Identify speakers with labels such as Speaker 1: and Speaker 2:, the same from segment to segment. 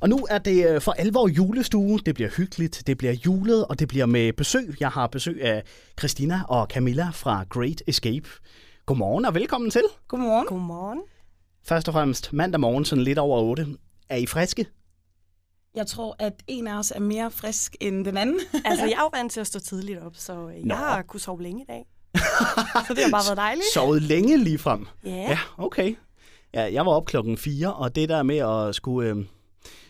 Speaker 1: Og nu er det øh, for alvor julestue. Det bliver hyggeligt, det bliver julet, og det bliver med besøg. Jeg har besøg af Christina og Camilla fra Great Escape. Godmorgen og velkommen til.
Speaker 2: Godmorgen.
Speaker 3: Godmorgen.
Speaker 1: Først og fremmest mandag morgen, sådan lidt over 8. Er I friske?
Speaker 2: Jeg tror, at en af os er mere frisk end den anden.
Speaker 3: Altså, jeg er jo vant til at stå tidligt op, så øh, jeg
Speaker 1: Nå.
Speaker 3: har kunnet sove længe i dag. så det har bare været dejligt.
Speaker 1: Sovet længe lige frem.
Speaker 3: Ja.
Speaker 1: Ja, okay. Ja, jeg var op klokken 4, og det der med at skulle øh,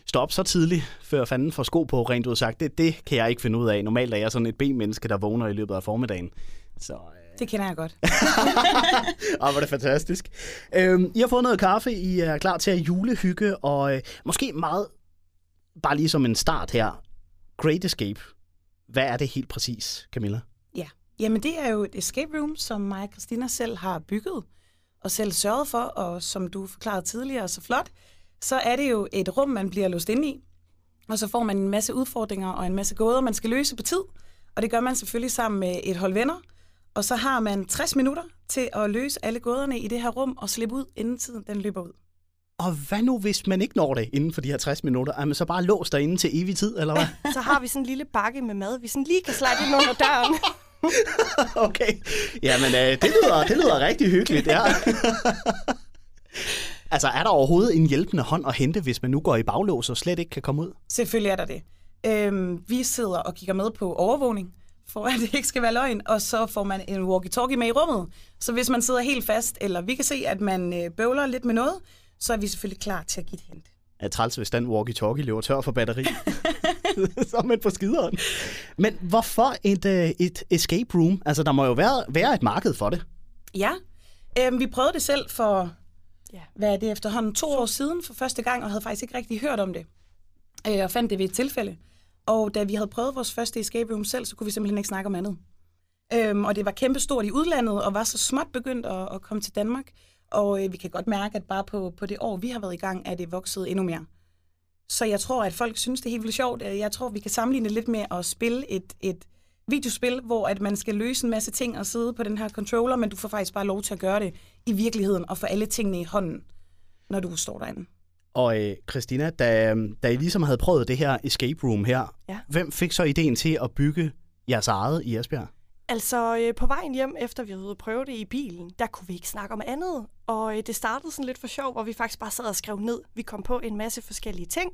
Speaker 1: stå op så tidligt, før fanden får sko på, rent ud sagt, det, det kan jeg ikke finde ud af. Normalt er jeg sådan et B-menneske, der vågner i løbet af formiddagen. Så, øh,
Speaker 2: Det kender jeg godt.
Speaker 1: Ah, hvor er det fantastisk. Øhm, I har fået noget kaffe, I er klar til at julehygge, og øh, måske meget, bare lige som en start her, Great Escape. Hvad er det helt præcis, Camilla?
Speaker 2: Ja. Jamen, det er jo et escape room, som mig og Christina selv har bygget og selv sørget for, og som du forklarede tidligere så flot, så er det jo et rum, man bliver låst ind i, og så får man en masse udfordringer og en masse gåder, man skal løse på tid, og det gør man selvfølgelig sammen med et hold venner, og så har man 60 minutter til at løse alle gåderne i det her rum og slippe ud, inden tiden den løber ud.
Speaker 1: Og hvad nu, hvis man ikke når det inden for de her 60 minutter? Er man så bare låst derinde til evig tid, eller hvad?
Speaker 3: Så har vi sådan en lille bakke med mad, vi sådan lige kan slide ind under døren.
Speaker 1: okay. Jamen, øh, det, lyder, det lyder rigtig hyggeligt, ja. altså, er der overhovedet en hjælpende hånd at hente, hvis man nu går i baglås og slet ikke kan komme ud?
Speaker 2: Selvfølgelig er der det. Øhm, vi sidder og kigger med på overvågning, for at det ikke skal være løgn, og så får man en walkie-talkie med i rummet. Så hvis man sidder helt fast, eller vi kan se, at man øh, bøvler lidt med noget, så er vi selvfølgelig klar til at give et hent.
Speaker 1: er træls, hvis den walkie-talkie løber tør for batteri. så er man på skideren. Men hvorfor et, øh, et escape room? Altså, der må jo være, være et marked for det.
Speaker 2: Ja, øhm, vi prøvede det selv for,
Speaker 3: Ja.
Speaker 2: hvad er det efterhånden, to år siden for første gang, og havde faktisk ikke rigtig hørt om det. Øh, og fandt det ved et tilfælde. Og da vi havde prøvet vores første escape room selv, så kunne vi simpelthen ikke snakke om andet. Øhm, og det var kæmpestort i udlandet, og var så småt begyndt at, at komme til Danmark. Og øh, vi kan godt mærke, at bare på, på det år, vi har været i gang, er det vokset endnu mere. Så jeg tror, at folk synes, det er helt vildt sjovt. Øh, Jeg tror, vi kan sammenligne det lidt med at spille et, et videospil, hvor at man skal løse en masse ting og sidde på den her controller, men du får faktisk bare lov til at gøre det i virkeligheden og få alle tingene i hånden, når du står derinde.
Speaker 1: Og øh, Christina, da, øh, da I ligesom havde prøvet det her escape room her,
Speaker 3: Ja.
Speaker 1: hvem fik så ideen til at bygge jeres eget i Esbjerg?
Speaker 3: Altså, øh, på vejen hjem, efter vi havde ude at prøve det i bilen, der kunne vi ikke snakke om andet. Og øh, det startede sådan lidt for sjov, hvor vi faktisk bare sad og skrev ned. Vi kom på en masse forskellige ting,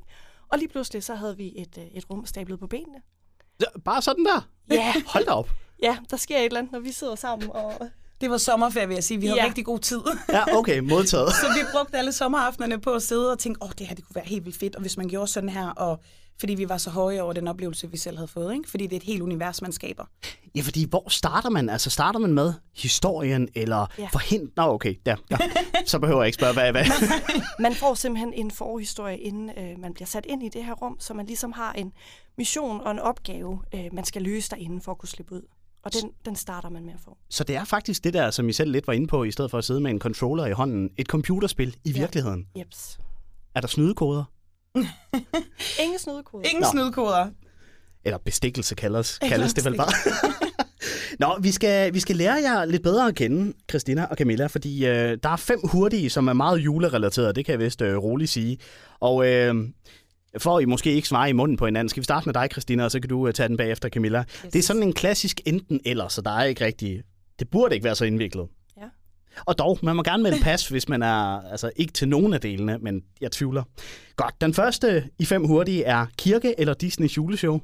Speaker 3: og lige pludselig så havde vi et, øh, et rum stablet på benene.
Speaker 1: Så- Bare sådan der?
Speaker 3: Ja.
Speaker 1: Hold da op.
Speaker 3: Ja, der sker et eller andet, når vi sidder sammen. Og...
Speaker 2: Det var sommerferie, vil jeg sige. Vi havde ja.
Speaker 3: Ja.
Speaker 2: rigtig god tid.
Speaker 1: Ja, okay, modtaget.
Speaker 2: så vi brugte alle sommeraftenerne på at sidde og tænke, åh, det her det kunne være helt vildt fedt, og hvis man gjorde sådan her, og fordi vi var så høje over den oplevelse, vi selv havde fået, ikke? fordi det er et helt univers, man skaber.
Speaker 1: Ja, fordi hvor starter man? Altså, starter man med historien, eller ja.
Speaker 3: Ja.
Speaker 1: forhindrer... Nå, okay, ja, ja. Så behøver jeg ikke spørge, hvad, hvad,
Speaker 3: Man får simpelthen en forhistorie, inden øh, man bliver sat ind i det her rum, så man ligesom har en mission og en opgave, øh, man skal løse derinde for at kunne slippe ud. Og den, den starter man med at få.
Speaker 1: Så det er faktisk det der, som I selv lidt var inde på, i stedet for at sidde med en controller i hånden. Et computerspil i virkeligheden.
Speaker 3: Jeps.
Speaker 1: Er der snydekoder?
Speaker 3: Ingen snydekode.
Speaker 2: Ingen
Speaker 1: Nå.
Speaker 2: Nå. snydekoder.
Speaker 1: Eller bestikkelse kaldes, kaldes det vel bare. Nå, vi skal, vi skal lære jer lidt bedre at kende, Christina og Camilla, fordi øh, der er fem hurtige, som er meget julerelaterede, det kan jeg vist øh, roligt sige. Og øh, for at I måske ikke svarer i munden på hinanden, skal vi starte med dig, Christina, og så kan du øh, tage den bagefter, Camilla. Yes. Det er sådan en klassisk enten-eller, så der er ikke rigtig... Det burde ikke være så indviklet.
Speaker 3: Ja.
Speaker 1: Og dog, man må gerne melde pas, hvis man er altså, ikke til nogen af delene, men jeg tvivler. Godt, den første i fem hurtige er Kirke eller Disneys juleshow?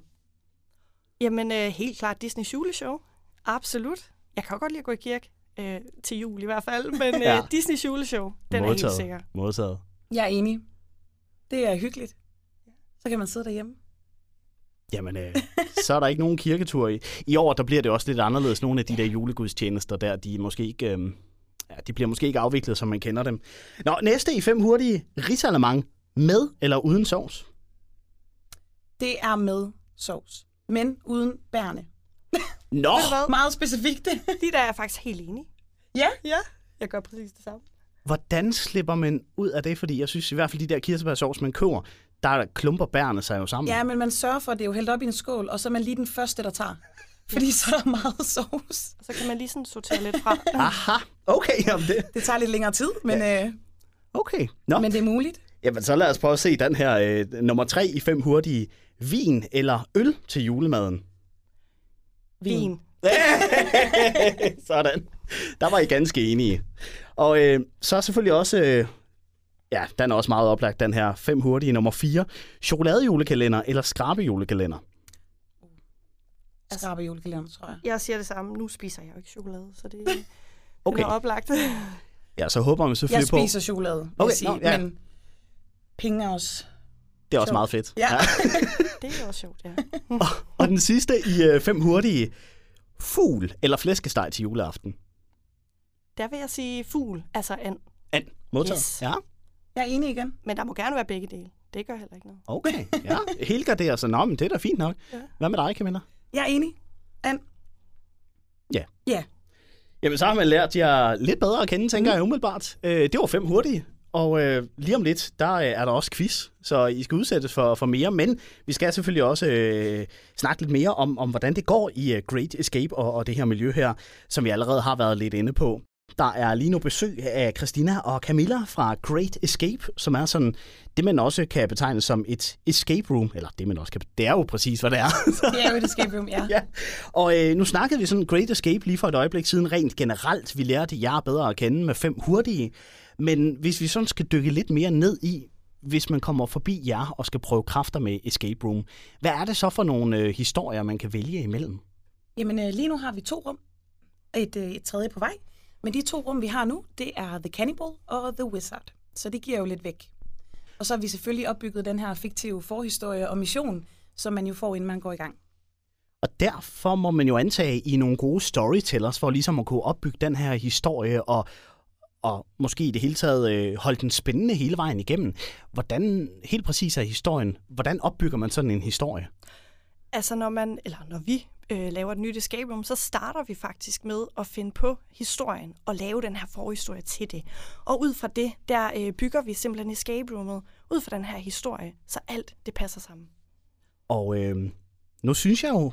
Speaker 3: Jamen, øh, helt klart Disney's juleshow. Absolut. Jeg kan jo godt lide at gå i kirke. Øh, til jul i hvert fald, men øh,
Speaker 1: Ja.
Speaker 3: Disney's juleshow, den er helt sikker.
Speaker 1: Modtaget.
Speaker 2: Jeg er enig. Det er hyggeligt. Så kan man sidde derhjemme.
Speaker 1: Jamen, øh, så er der ikke nogen kirketur i. I år, der bliver det også lidt anderledes. Nogle af de der julegudstjenester der, de, er måske ikke, øh, ja, de bliver måske ikke afviklet, som man kender dem. Nå, næste i fem hurtige. Risalemang med eller uden sovs?
Speaker 2: Det er med sovs, men uden bærne.
Speaker 1: Nå,
Speaker 3: Hvad?
Speaker 2: Meget specifikt.
Speaker 3: De der er jeg faktisk helt enig.
Speaker 2: ja, ja.
Speaker 3: Jeg gør præcis det samme.
Speaker 1: hvordan slipper man ud af det? Fordi jeg synes i hvert fald, de der kirsebærsovs, man køber, der klumper bærene sig jo sammen.
Speaker 2: Ja, men man sørger for, at det er jo hældt op i en skål, og så er man lige den første, der tager. Fordi så er der meget sovs.
Speaker 3: Og så kan man lige sådan sortere lidt fra.
Speaker 1: Aha, okay, jamen det.
Speaker 2: Det tager lidt længere tid, men, ja. øh,
Speaker 1: Okay, nå.
Speaker 2: men det er muligt.
Speaker 1: Jamen, så lad os prøve at se den her øh, nummer tre i fem hurtige. Vin eller øl til julemaden?
Speaker 3: Vin.
Speaker 1: Sådan. Der var I ganske enige. Og øh, så er selvfølgelig også... Øh, ja, den er også meget oplagt, den her fem hurtige nummer 4. Chokoladejulekalender eller skrabejulekalender? Altså-
Speaker 2: Skrabe julekalender, tror jeg.
Speaker 3: Jeg siger det samme. Nu spiser jeg jo ikke chokolade, så det okay.
Speaker 1: Okay.
Speaker 3: er oplagt.
Speaker 1: Ja, så håber man
Speaker 2: Jeg
Speaker 1: selvfølgelig på...
Speaker 2: spiser chokolade, vil
Speaker 1: Okay,
Speaker 2: jeg sige,
Speaker 1: nå, ja.
Speaker 2: men penge er også...
Speaker 1: Det er også meget fedt.
Speaker 2: Ja.
Speaker 3: det er også sjovt, ja.
Speaker 1: Og den sidste i øh, fem hurtige. Fugl eller flæskesteg til juleaften?
Speaker 3: Der vil jeg sige fugl, altså and.
Speaker 1: And. Modtaget.
Speaker 3: Yes.
Speaker 1: Ja,
Speaker 2: Jeg er enig igen.
Speaker 3: Men der må gerne være begge dele. Det gør heller ikke noget.
Speaker 1: okay. Ja. Helgarderer sig. Nå, men det er da fint nok.
Speaker 3: Ja.
Speaker 1: Hvad med dig, Camilla?
Speaker 2: Jeg er enig. And.
Speaker 1: Ja.
Speaker 2: Ja.
Speaker 1: Jamen, så har man lært jer lidt bedre at kende, tænker jeg umiddelbart. Øh, det var fem hurtige, og øh, lige om lidt, der øh, er der også quiz, så I skal udsættes for, for mere. Men vi skal selvfølgelig også øh, snakke lidt mere om, om, hvordan det går i øh, Great Escape og, og det her miljø her, som vi allerede har været lidt inde på. Der er lige nu besøg af Christina og Camilla fra Great Escape, som er sådan det, man også kan betegne som et escape room. Eller det, man også kan... Det er jo præcis, hvad det er. Så-
Speaker 2: Det er jo et escape room, ja.
Speaker 1: Ja, og øh, nu snakkede vi sådan Great Escape lige for et øjeblik siden rent generelt. Vi lærte jer bedre at kende med fem hurtige. Men hvis vi sådan skal dykke lidt mere ned i, hvis man kommer forbi jer og skal prøve kræfter med Escape Room, hvad er det så for nogle øh, historier, man kan vælge imellem?
Speaker 2: Jamen øh, lige nu har vi to rum. Et, øh, et tredje på vej. Men de to rum, vi har nu, det er The Cannibal og The Wizard. Så det giver jo lidt væk. Og så har vi selvfølgelig opbygget den her fiktive forhistorie og mission, som man jo får, inden man går i gang.
Speaker 1: Og derfor må man jo antage, at I er nogle gode storytellers for ligesom at kunne opbygge den her historie og, og måske i det hele taget øh, holde den spændende hele vejen igennem. Hvordan, helt præcis er historien, hvordan opbygger man sådan en historie?
Speaker 3: Altså når man, eller når vi øh, laver et nyt escape room, så starter vi faktisk med at finde på historien og lave den her forhistorie til det. Og ud fra det, der øh, bygger vi simpelthen escape roomet ud fra den her historie, så alt det passer sammen.
Speaker 1: Og øh, nu synes jeg jo,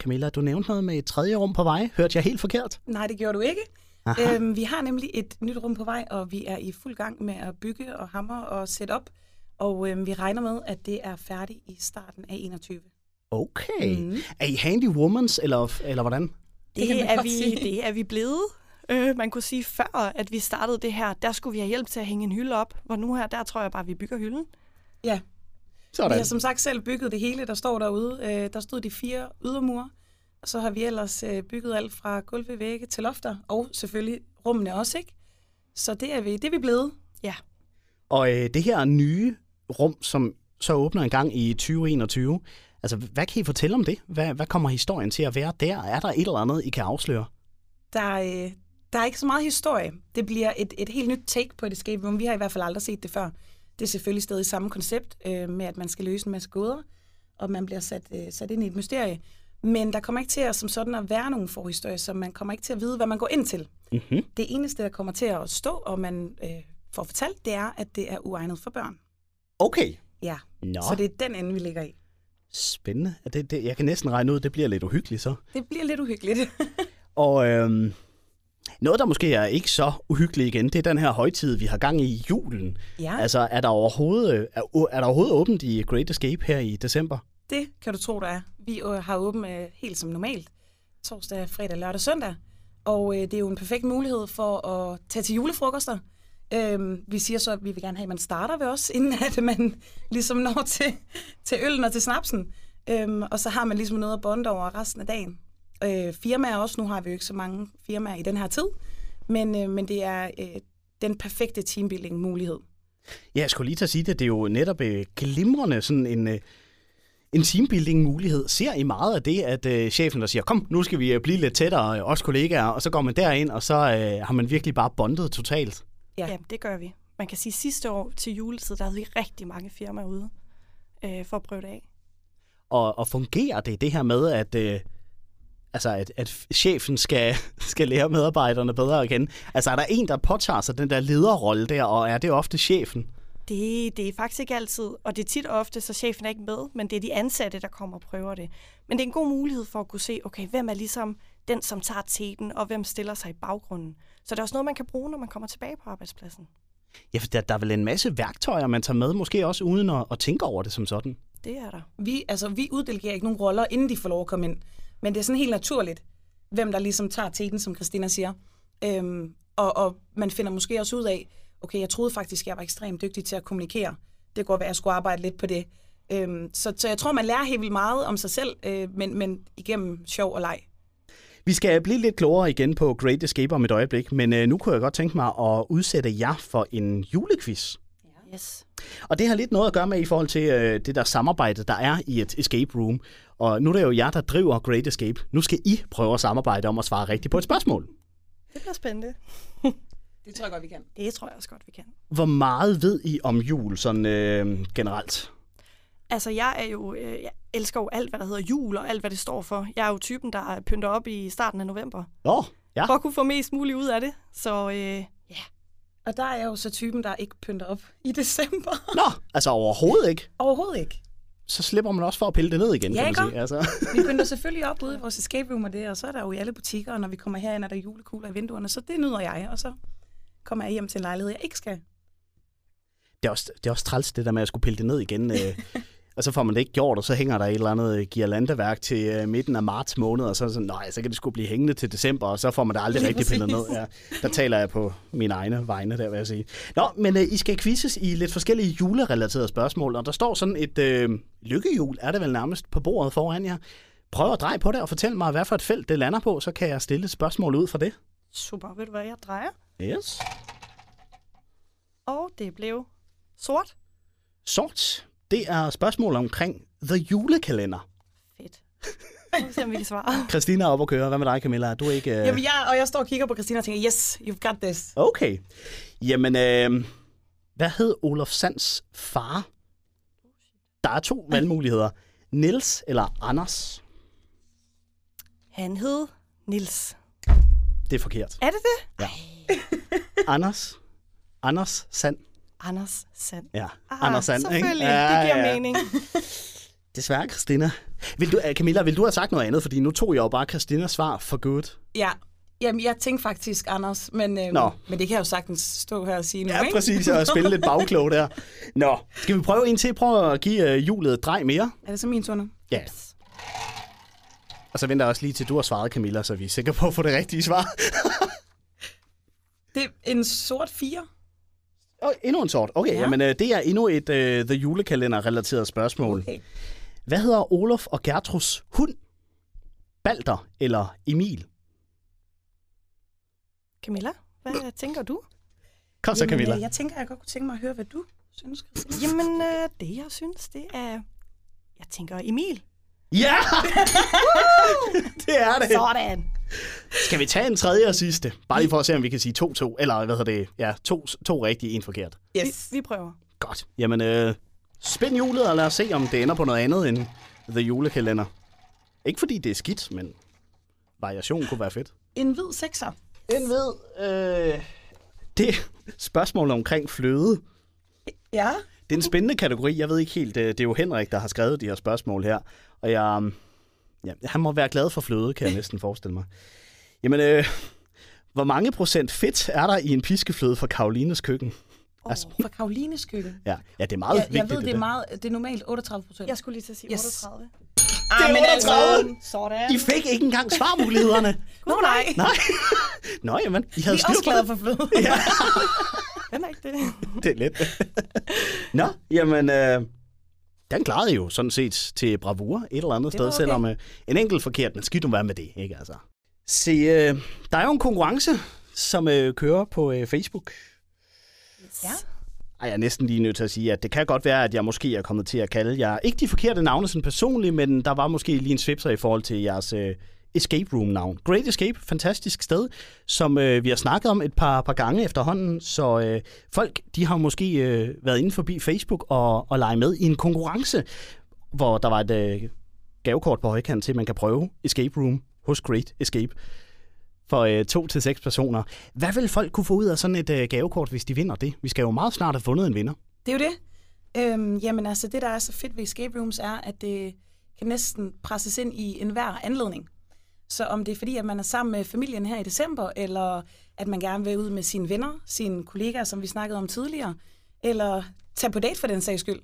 Speaker 1: Camilla, du nævnte noget med et tredje rum på vej. Hørte jeg helt forkert?
Speaker 2: Nej, det gjorde du ikke.
Speaker 1: Aha.
Speaker 2: Øhm, vi har nemlig et nyt rum på vej, og vi er i fuld gang med at bygge og hammer og sætte op. Og øhm, vi regner med, at det er færdigt i starten af 21.
Speaker 1: Okay. Mm.
Speaker 2: Mm.
Speaker 1: Er I handy womans, eller, eller hvordan?
Speaker 2: Det kan man
Speaker 3: er
Speaker 2: godt
Speaker 3: vi,
Speaker 2: sige.
Speaker 3: det er vi blevet. Øh, man kunne sige, før at vi startede det her, der skulle vi have hjælp til at hænge en hylde op, hvor nu her, der tror jeg bare, vi bygger hylden.
Speaker 2: Ja, Vi
Speaker 1: Sådan.
Speaker 2: har som sagt selv bygget det hele, der står derude. Øh, der stod de fire ydermure, og så har vi ellers øh, bygget alt fra gulve, vægge til lofter, og selvfølgelig rummene også, ikke? Så det er vi, det er vi blevet.
Speaker 3: Ja,
Speaker 1: Og øh, det her nye rum, som så åbner en gang i 2021, altså hvad kan I fortælle om det? Hvad, hvad kommer historien til at være der? Er der et eller andet, I kan afsløre?
Speaker 2: Der, øh, der er ikke så meget historie. Det bliver et, et helt nyt take på et escape room. Vi har i hvert fald aldrig set det før. Det er selvfølgelig stadig samme koncept øh, med, at man skal løse en masse gåder, og man bliver sat, øh, sat ind i et mysterie. Men der kommer ikke til at, som sådan at være nogen forhistorie, så man kommer ikke til at vide, hvad man går ind til.
Speaker 1: Mm-hmm.
Speaker 2: Det eneste, der kommer til at stå, og man øh, får fortalt, det er, at det er uegnet for børn.
Speaker 1: Okay.
Speaker 2: Ja,
Speaker 1: Nå,
Speaker 2: så
Speaker 1: det...
Speaker 2: det er den ende, vi ligger i.
Speaker 1: spændende. Er Det, det, jeg kan næsten regne ud, det bliver lidt uhyggeligt så.
Speaker 2: Det bliver lidt uhyggeligt.
Speaker 1: Og øhm, noget, der måske er ikke så uhyggeligt igen, det er den her højtid, vi har gang i i julen.
Speaker 2: ja, altså...
Speaker 1: Altså, er der, overhovedet, er, er der overhovedet åbent i Great Escape her i december?
Speaker 2: det kan du tro, der er. Vi øh, har åbent øh, helt som normalt, torsdag, fredag, lørdag, søndag. Og øh, det er jo en perfekt mulighed for at tage til julefrokoster. Øhm, vi siger så, at vi vil gerne have, at man starter ved os, inden at man ligesom når til, til øllen og til snapsen. Øhm, og så har man ligesom noget at bonde over resten af dagen. Øh, firmaer også, nu har vi jo ikke så mange firmaer i den her tid, men, øh, men det er øh, den perfekte teambuilding-mulighed.
Speaker 1: Ja, jeg skulle lige til at sige det. Det er jo netop øh, glimrende sådan en, øh, en teambuilding-mulighed. Ser I meget af det, at øh, chefen der siger, kom, nu skal vi øh, blive lidt tættere, øh, os kollegaer, og så går man derind, og så øh, har man virkelig bare bondet totalt.
Speaker 2: Ja.
Speaker 3: ja. Jamen, det gør vi. Man kan sige, at sidste år til juletid, der havde vi rigtig mange firmaer ude øh, for at prøve det af.
Speaker 1: Og, og fungerer det, det her med, at... Øh, Altså, at, at chefen skal, skal lære medarbejderne bedre at kende. Altså, er der en, der påtager sig den der lederrolle der, og er det ofte chefen?
Speaker 3: Det, det er faktisk ikke altid, og det er tit og ofte, så chefen er ikke med, men det er de ansatte, der kommer og prøver det. Men det er en god mulighed for at kunne se, okay, hvem er ligesom den, som tager teten, og hvem stiller sig i baggrunden. Så det er også noget, man kan bruge, når man kommer tilbage på arbejdspladsen.
Speaker 1: Ja, for der, der er vel en masse værktøjer, man tager med, måske også uden at, at tænke over det som sådan.
Speaker 3: Det er der.
Speaker 2: Vi, altså, vi uddelegerer ikke nogen roller, inden de får lov at komme ind. Men det er sådan helt naturligt, hvem der ligesom tager teten, som Christina siger. Øhm, og, og man finder måske også ud af, okay, jeg troede faktisk, jeg var ekstremt dygtig til at kommunikere. Det går, at jeg skulle arbejde lidt på det. Øhm, så, så jeg tror, man lærer helt vildt meget om sig selv, øh, men, men igennem sjov og leg.
Speaker 1: Vi skal blive lidt klogere igen på Great Escape om et øjeblik, men øh, nu kunne jeg godt tænke mig at udsætte jer for en julequiz.
Speaker 3: Yes.
Speaker 1: Og det har lidt noget at gøre med i forhold til øh, det der samarbejde, der er i et escape room. Og nu er det jo jer, der driver Great Escape. Nu skal I prøve at samarbejde om at svare rigtigt på et spørgsmål.
Speaker 3: Det bliver spændende.
Speaker 2: Det tror jeg godt, vi kan.
Speaker 3: Det tror jeg også godt, vi kan.
Speaker 1: Hvor meget ved I om jul sådan øh, generelt?
Speaker 3: Altså, jeg er jo, øh, jeg elsker jo alt, hvad der hedder jul og alt, hvad det står for. Jeg er jo typen, der pynter op i starten af november,
Speaker 1: Nå, ja.
Speaker 3: for at kunne få mest muligt ud af det. Så øh,
Speaker 2: Og der er jeg jo så typen, der ikke pynter op i december.
Speaker 1: Nå, altså overhovedet ikke.
Speaker 2: Overhovedet ikke.
Speaker 1: Så slipper man også for at pille det ned igen, kan
Speaker 2: Ja,
Speaker 1: man
Speaker 2: ikke?
Speaker 1: sige. Altså.
Speaker 2: Vi pynter selvfølgelig op ude i vores escape room og det, og så er der jo i alle butikker, og når vi kommer herind, er der julekugler i vinduerne, så det nyder jeg, og så kommer jeg hjem til en lejlighed, jeg ikke skal.
Speaker 1: Det er, også, det er også træls, det der med at skulle pille det ned igen. Øh, og så får man det ikke gjort, og så hænger der et eller andet øh, girlandeværk til øh, midten af marts måned, og så er det sådan, nej, så kan det skulle blive hængende til december, og så får man det aldrig
Speaker 2: Lige
Speaker 1: rigtig pillet ned.
Speaker 2: præcis.
Speaker 1: Ja, der taler jeg på mine egne vegne, der vil jeg sige. Nå, men øh, I skal quizzes i lidt forskellige julerelaterede spørgsmål, og der står sådan et øh, lykkehjul, er det vel nærmest, på bordet foran jer. Prøv at dreje på det, og fortæl mig, hvad for et felt det lander på, så kan jeg stille et spørgsmål ud fra det.
Speaker 3: super, ved du hvad jeg drejer?
Speaker 1: Yes.
Speaker 3: Og det blev sort.
Speaker 1: Sort, det er spørgsmål omkring The Julekalender.
Speaker 3: Fedt. Nu må vi se, om vi kan svare.
Speaker 1: Christina er oppe at køre. Hvad med dig, Camilla? Er Du er ikke... Øh...
Speaker 2: Jamen, jeg, og jeg står og kigger på Christina og tænker, yes, you've got this.
Speaker 1: Okay. Jamen, øh... hvad hed Olof Sands far? Der er to valgmuligheder. Nils eller Anders?
Speaker 3: Han hed Nils.
Speaker 1: Det er forkert.
Speaker 3: Er det det?
Speaker 1: Anders? Anders Sand?
Speaker 3: Anders Sand.
Speaker 1: Ja, Anders Sand, ikke?
Speaker 3: Ah, selvfølgelig.
Speaker 1: Ja,
Speaker 3: det giver
Speaker 1: ja.
Speaker 3: mening.
Speaker 1: Desværre, Christina. Vil du, øh, Camilla, vil du have sagt noget andet? Fordi nu tog jeg jo bare Christinas svar for godt.
Speaker 2: Ja, Jamen, jeg tænkte faktisk, Anders, men, øhm,
Speaker 1: Nå.
Speaker 2: men det kan jeg jo sagtens stå her og sige nu,
Speaker 1: Ja,
Speaker 2: ikke?
Speaker 1: præcis. Og spille lidt bagklog der. Nå, skal vi prøve en til? Prøv at give øh, hjulet et drej mere.
Speaker 2: Er det så min tur nu?
Speaker 1: Ja. Og så venter jeg også lige til, du har svaret, Camilla, så vi er sikre på at få det rigtige svar.
Speaker 2: Det er en sort fire.
Speaker 1: Og endnu en sort. Okay, ja.
Speaker 2: Ja.
Speaker 1: jamen øh, det er endnu et øh, The Julekalender-relateret spørgsmål. Okay.
Speaker 2: Okay.
Speaker 1: Hvad hedder Olof og Gertrus hund? Balder eller Emil?
Speaker 3: Camilla, hvad tænker du?
Speaker 1: Kom så, Camilla.
Speaker 2: øh, jeg tænker, jeg godt kunne tænke mig at høre, hvad du synes, Christina.
Speaker 3: Jamen, øh, det jeg synes, det er... Jeg tænker Emil.
Speaker 1: Ja! det er det.
Speaker 3: Sådan.
Speaker 1: Skal vi tage en tredje og sidste? Bare lige for at se, om vi kan sige 2-2. Eller hvad hedder det? Ja, to, to rigtige, en forkert.
Speaker 2: Yes.
Speaker 3: Vi, vi prøver.
Speaker 1: Godt. Jamen, øh, spænd hjulet, og lad os se, om det ender på noget andet end The Julekalender. Ikke fordi det er skidt, men variation kunne være fedt.
Speaker 2: En hvid sekser.
Speaker 1: Den ved... Øh... Det spørgsmål omkring fløde.
Speaker 2: Ja.
Speaker 1: Det er en spændende kategori. Jeg ved ikke helt... øh, Det er jo Henrik, der har skrevet de her spørgsmål her. Og jeg... øhm, Ja, han må være glad for fløde, kan jeg næsten forestille mig. Jamen, øh, hvor mange procent fedt er der i en piskefløde fra Karolines køkken?
Speaker 2: Oh, fra Karolines køkken.
Speaker 1: Ja, ja det er meget
Speaker 2: jeg,
Speaker 1: vigtigt.
Speaker 2: jeg ved, det
Speaker 1: der.
Speaker 2: er, meget, det er normalt 38 procent.
Speaker 3: Jeg skulle lige til at sige
Speaker 2: Yes.
Speaker 3: 38.
Speaker 2: ah,
Speaker 1: Det er 38!
Speaker 3: Sådan.
Speaker 1: I fik ikke engang svarmulighederne.
Speaker 2: Nå, nej.
Speaker 1: Nej. Nå, jamen, I
Speaker 2: Vi
Speaker 1: havde
Speaker 2: er
Speaker 1: styr
Speaker 2: også
Speaker 1: på
Speaker 2: glade
Speaker 1: det.
Speaker 2: for fløde.
Speaker 3: Hvem er ikke det?
Speaker 1: Det er lidt. Nå, jamen, øh, den klarede jo sådan set til bravur et eller andet
Speaker 2: Det
Speaker 1: sted,
Speaker 2: var
Speaker 1: okay.
Speaker 2: okay.
Speaker 1: selvom øh, en enkelt forkert, men skidt nu være med det, ikke altså? Se, øh, der er jo en konkurrence, som øh, kører på øh, Facebook.
Speaker 2: Ja.
Speaker 1: Ej, jeg er næsten lige nødt til at sige, at det kan godt være, at jeg måske er kommet til at kalde jer ikke de forkerte navne sådan personligt, men der var måske lige en svipser i forhold til jeres øh, escape room-navn. Great Escape, fantastisk sted, som øh, vi har snakket om et par, par gange efterhånden, så øh, folk de har måske øh, været inde forbi Facebook og, og lege med i en konkurrence, hvor der var et øh, gavekort på højkant til, at man kan prøve escape room hos Great Escape for øh, to til seks personer. Hvad vil folk kunne få ud af sådan et øh, gavekort, hvis de vinder det? Vi skal jo meget snart have fundet en vinder.
Speaker 2: Det er jo det. Øhm, jamen altså, det der er så fedt ved escape rooms er, at det kan næsten presses ind i enhver anledning. Så om det er fordi, at man er sammen med familien her i december, eller at man gerne vil ud med sine venner, sine kollegaer, som vi snakkede om tidligere, eller tage på date for den sags skyld,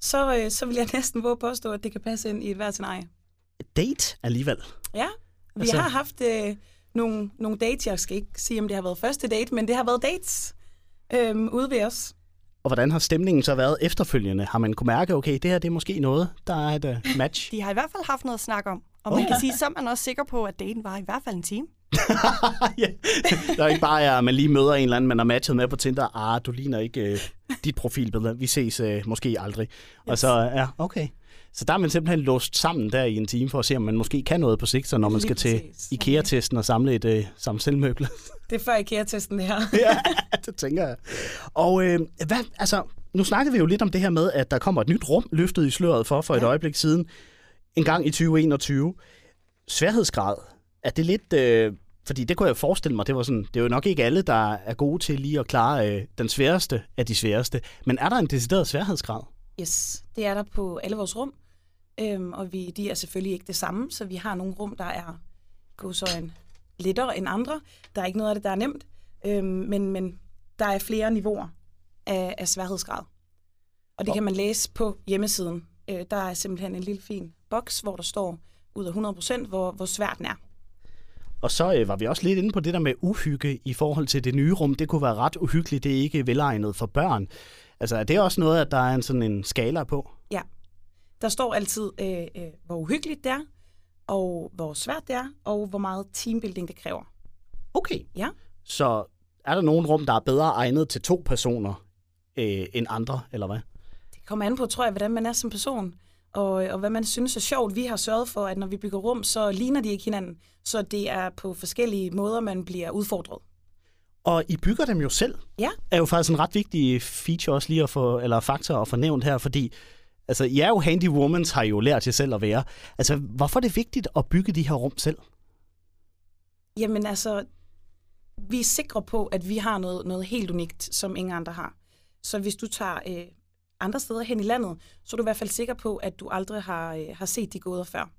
Speaker 2: så, øh, så vil jeg næsten våge påstå, at det kan passe ind i et hvert scenarie.
Speaker 1: Date alligevel.
Speaker 2: Ja, vi
Speaker 1: Altså-
Speaker 2: altså... har haft øh, nogle, nogle dates. Jeg skal ikke sige, om det har været første date, men det har været dates øhm, ude ved os.
Speaker 1: Og hvordan har stemningen så været efterfølgende? Har man kunne mærke, okay, det her det er måske noget, der er et uh, match?
Speaker 3: De har i hvert fald haft noget at snakke om. Og
Speaker 2: Oh.
Speaker 3: man kan sige, så er man også sikker på, at daten var i hvert fald en time.
Speaker 1: ja. Der er ikke bare, at man lige møder en eller anden, man har matchet med på Tinder. Ah, du ligner ikke uh, dit profilbillede. Vi ses uh, måske aldrig. Yes. Og så, øh, ja, okay. Så der er man simpelthen låst sammen der i en time for at se, om man måske kan noget på sigt, så når man
Speaker 2: Lige
Speaker 1: skal til
Speaker 2: præcis.
Speaker 1: IKEA-testen og samle et uh, samselmøble.
Speaker 2: Det er før IKEA-testen, det her.
Speaker 1: ja, det tænker jeg. Og øh, hvad, altså, nu snakkede vi jo lidt om det her med, at der kommer et nyt rum løftet i sløret for for et øjeblik siden, en gang i 2021. Sværhedsgrad, er det lidt... Øh, fordi det kunne jeg forestille mig, det var sådan, det er jo nok ikke alle, der er gode til lige at klare øh, den sværeste af de sværeste. Men er der en decideret sværhedsgrad?
Speaker 2: Yes, det er der på alle vores rum. Øhm, og vi, de er selvfølgelig ikke det samme, så vi har nogle rum, der er godsøjen lettere end andre. Der er ikke noget af det, der er nemt, øhm, men, men der er flere niveauer af, af sværhedsgrad. Og det kan man læse på hjemmesiden. Øh, der er simpelthen en lille fin boks, hvor der står ud af 100 hvor, hvor svært den er.
Speaker 1: Og så øh, var vi også lidt inde på det der med uhygge i forhold til det nye rum. Det kunne være ret uhyggeligt, det er ikke velegnet for børn. Altså er det også noget, at der er en sådan en skala på?
Speaker 2: Ja. Der står altid, øh, øh, hvor uhyggeligt det er, og hvor svært det er, og hvor meget teambuilding det kræver.
Speaker 1: Okay.
Speaker 2: Ja.
Speaker 1: Så er der nogen rum, der er bedre egnet til to personer øh, end andre, eller hvad?
Speaker 2: Det kommer an på, tror jeg, hvordan man er som person, og, øh, og hvad man synes er sjovt. Vi har sørget for, at når vi bygger rum, så ligner de ikke hinanden. Så det er på forskellige måder, man bliver udfordret.
Speaker 1: Og I bygger dem jo selv,
Speaker 2: Ja,
Speaker 1: er jo faktisk en ret vigtig feature også lige at få, eller faktor at få nævnt her, fordi altså, I er jo handy womans, har I jo lært jer selv at være. Altså, hvorfor er det vigtigt at bygge de her rum selv?
Speaker 2: jamen altså, vi er sikre på, at vi har noget, noget helt unikt, som ingen andre har. Så hvis du tager øh, andre steder hen i landet, så er du i hvert fald sikker på, at du aldrig har, øh, har set de gåder før.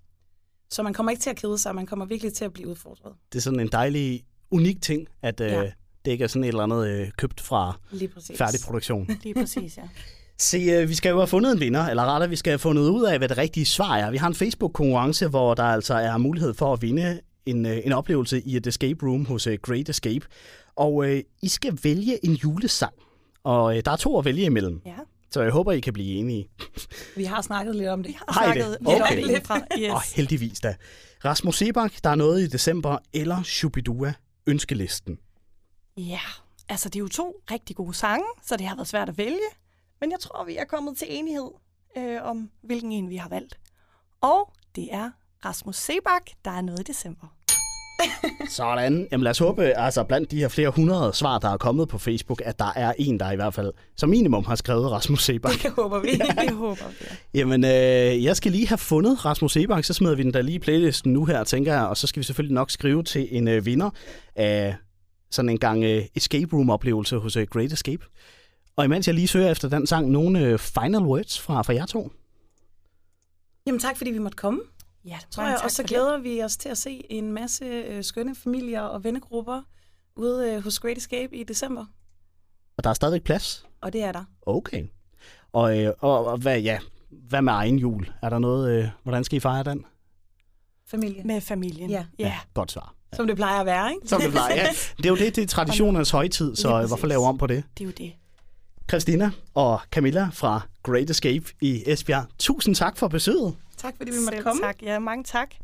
Speaker 2: Så man kommer ikke til at kede sig, man kommer virkelig til at blive udfordret.
Speaker 1: Det er sådan en dejlig, unik ting, at øh,
Speaker 2: Ja.
Speaker 1: det ikke er sådan et eller andet øh, købt fra
Speaker 2: Lige præcis.
Speaker 1: færdig produktion.
Speaker 3: Lige præcis, ja.
Speaker 1: Se, øh, vi skal jo have fundet en vinder, eller rettere, vi skal have fundet ud af, hvad det rigtige svar er. Vi har en Facebook-konkurrence, hvor der altså er mulighed for at vinde en, øh, en oplevelse i et escape room hos øh, Great Escape. Og øh, I skal vælge en julesang, og øh, der er to at vælge imellem,
Speaker 3: ja.
Speaker 1: så jeg håber, I kan blive enige.
Speaker 2: Vi har snakket lidt om det.
Speaker 3: Jeg har
Speaker 1: Hej,
Speaker 3: snakket
Speaker 1: det.
Speaker 3: lidt om
Speaker 1: Okay.
Speaker 3: det indefra.
Speaker 1: Yes. Og
Speaker 3: Yes.
Speaker 1: heldigvis da. Rasmus Sebak, der er noget i december, eller Shubidua, ønskelisten.
Speaker 3: Ja, altså det er jo to rigtig gode sange, så det har været svært at vælge. Men jeg tror, vi er kommet til enighed øh, om, hvilken en vi har valgt. Og det er Rasmus Sebak, der er noget i december.
Speaker 1: Sådan. Jamen lad os håbe, altså blandt de her flere hundrede svar, der er kommet på Facebook, at der er en, der i hvert fald som minimum har skrevet Rasmus Sebak.
Speaker 2: Det håber vi.
Speaker 3: Det håber vi.
Speaker 1: Jamen, øh, jeg skal lige have fundet Rasmus Sebak, så smider vi den der lige i playlisten nu her, tænker jeg, og så skal vi selvfølgelig nok skrive til en øh, vinder af sådan en gang øh, escape room-oplevelse hos øh, Great Escape. Og imens jeg lige søger efter den sang, nogle øh, final words fra, fra jer to.
Speaker 2: Jamen tak, fordi vi måtte komme.
Speaker 3: Ja, det
Speaker 2: tror jeg, og så glæder vi os til at se en masse øh, skønne familier og vennegrupper ude øh, hos Great Escape i december.
Speaker 1: Og der er stadigvæk plads.
Speaker 2: Og det er der.
Speaker 1: Okay. Og, øh, og, og hvad, ja, hvad med egen jul? Er der noget, øh, hvordan skal I fejre den?
Speaker 2: Familie.
Speaker 3: Med familien.
Speaker 2: Ja.
Speaker 3: ja.
Speaker 1: Godt svar.
Speaker 2: Som det plejer at være, ikke?
Speaker 1: Som det plejer. Ja. Det er jo det, det er traditionernes højtid,
Speaker 3: Lige
Speaker 1: så øh, hvorfor
Speaker 3: præcis.
Speaker 1: lave om på det?
Speaker 3: Det er jo det.
Speaker 1: Christina og Camilla fra Great Escape i Esbjerg. Tusind tak for besøget.
Speaker 2: Tak fordi vi måtte
Speaker 3: Selv
Speaker 2: komme.
Speaker 3: tak. Ja, mange tak.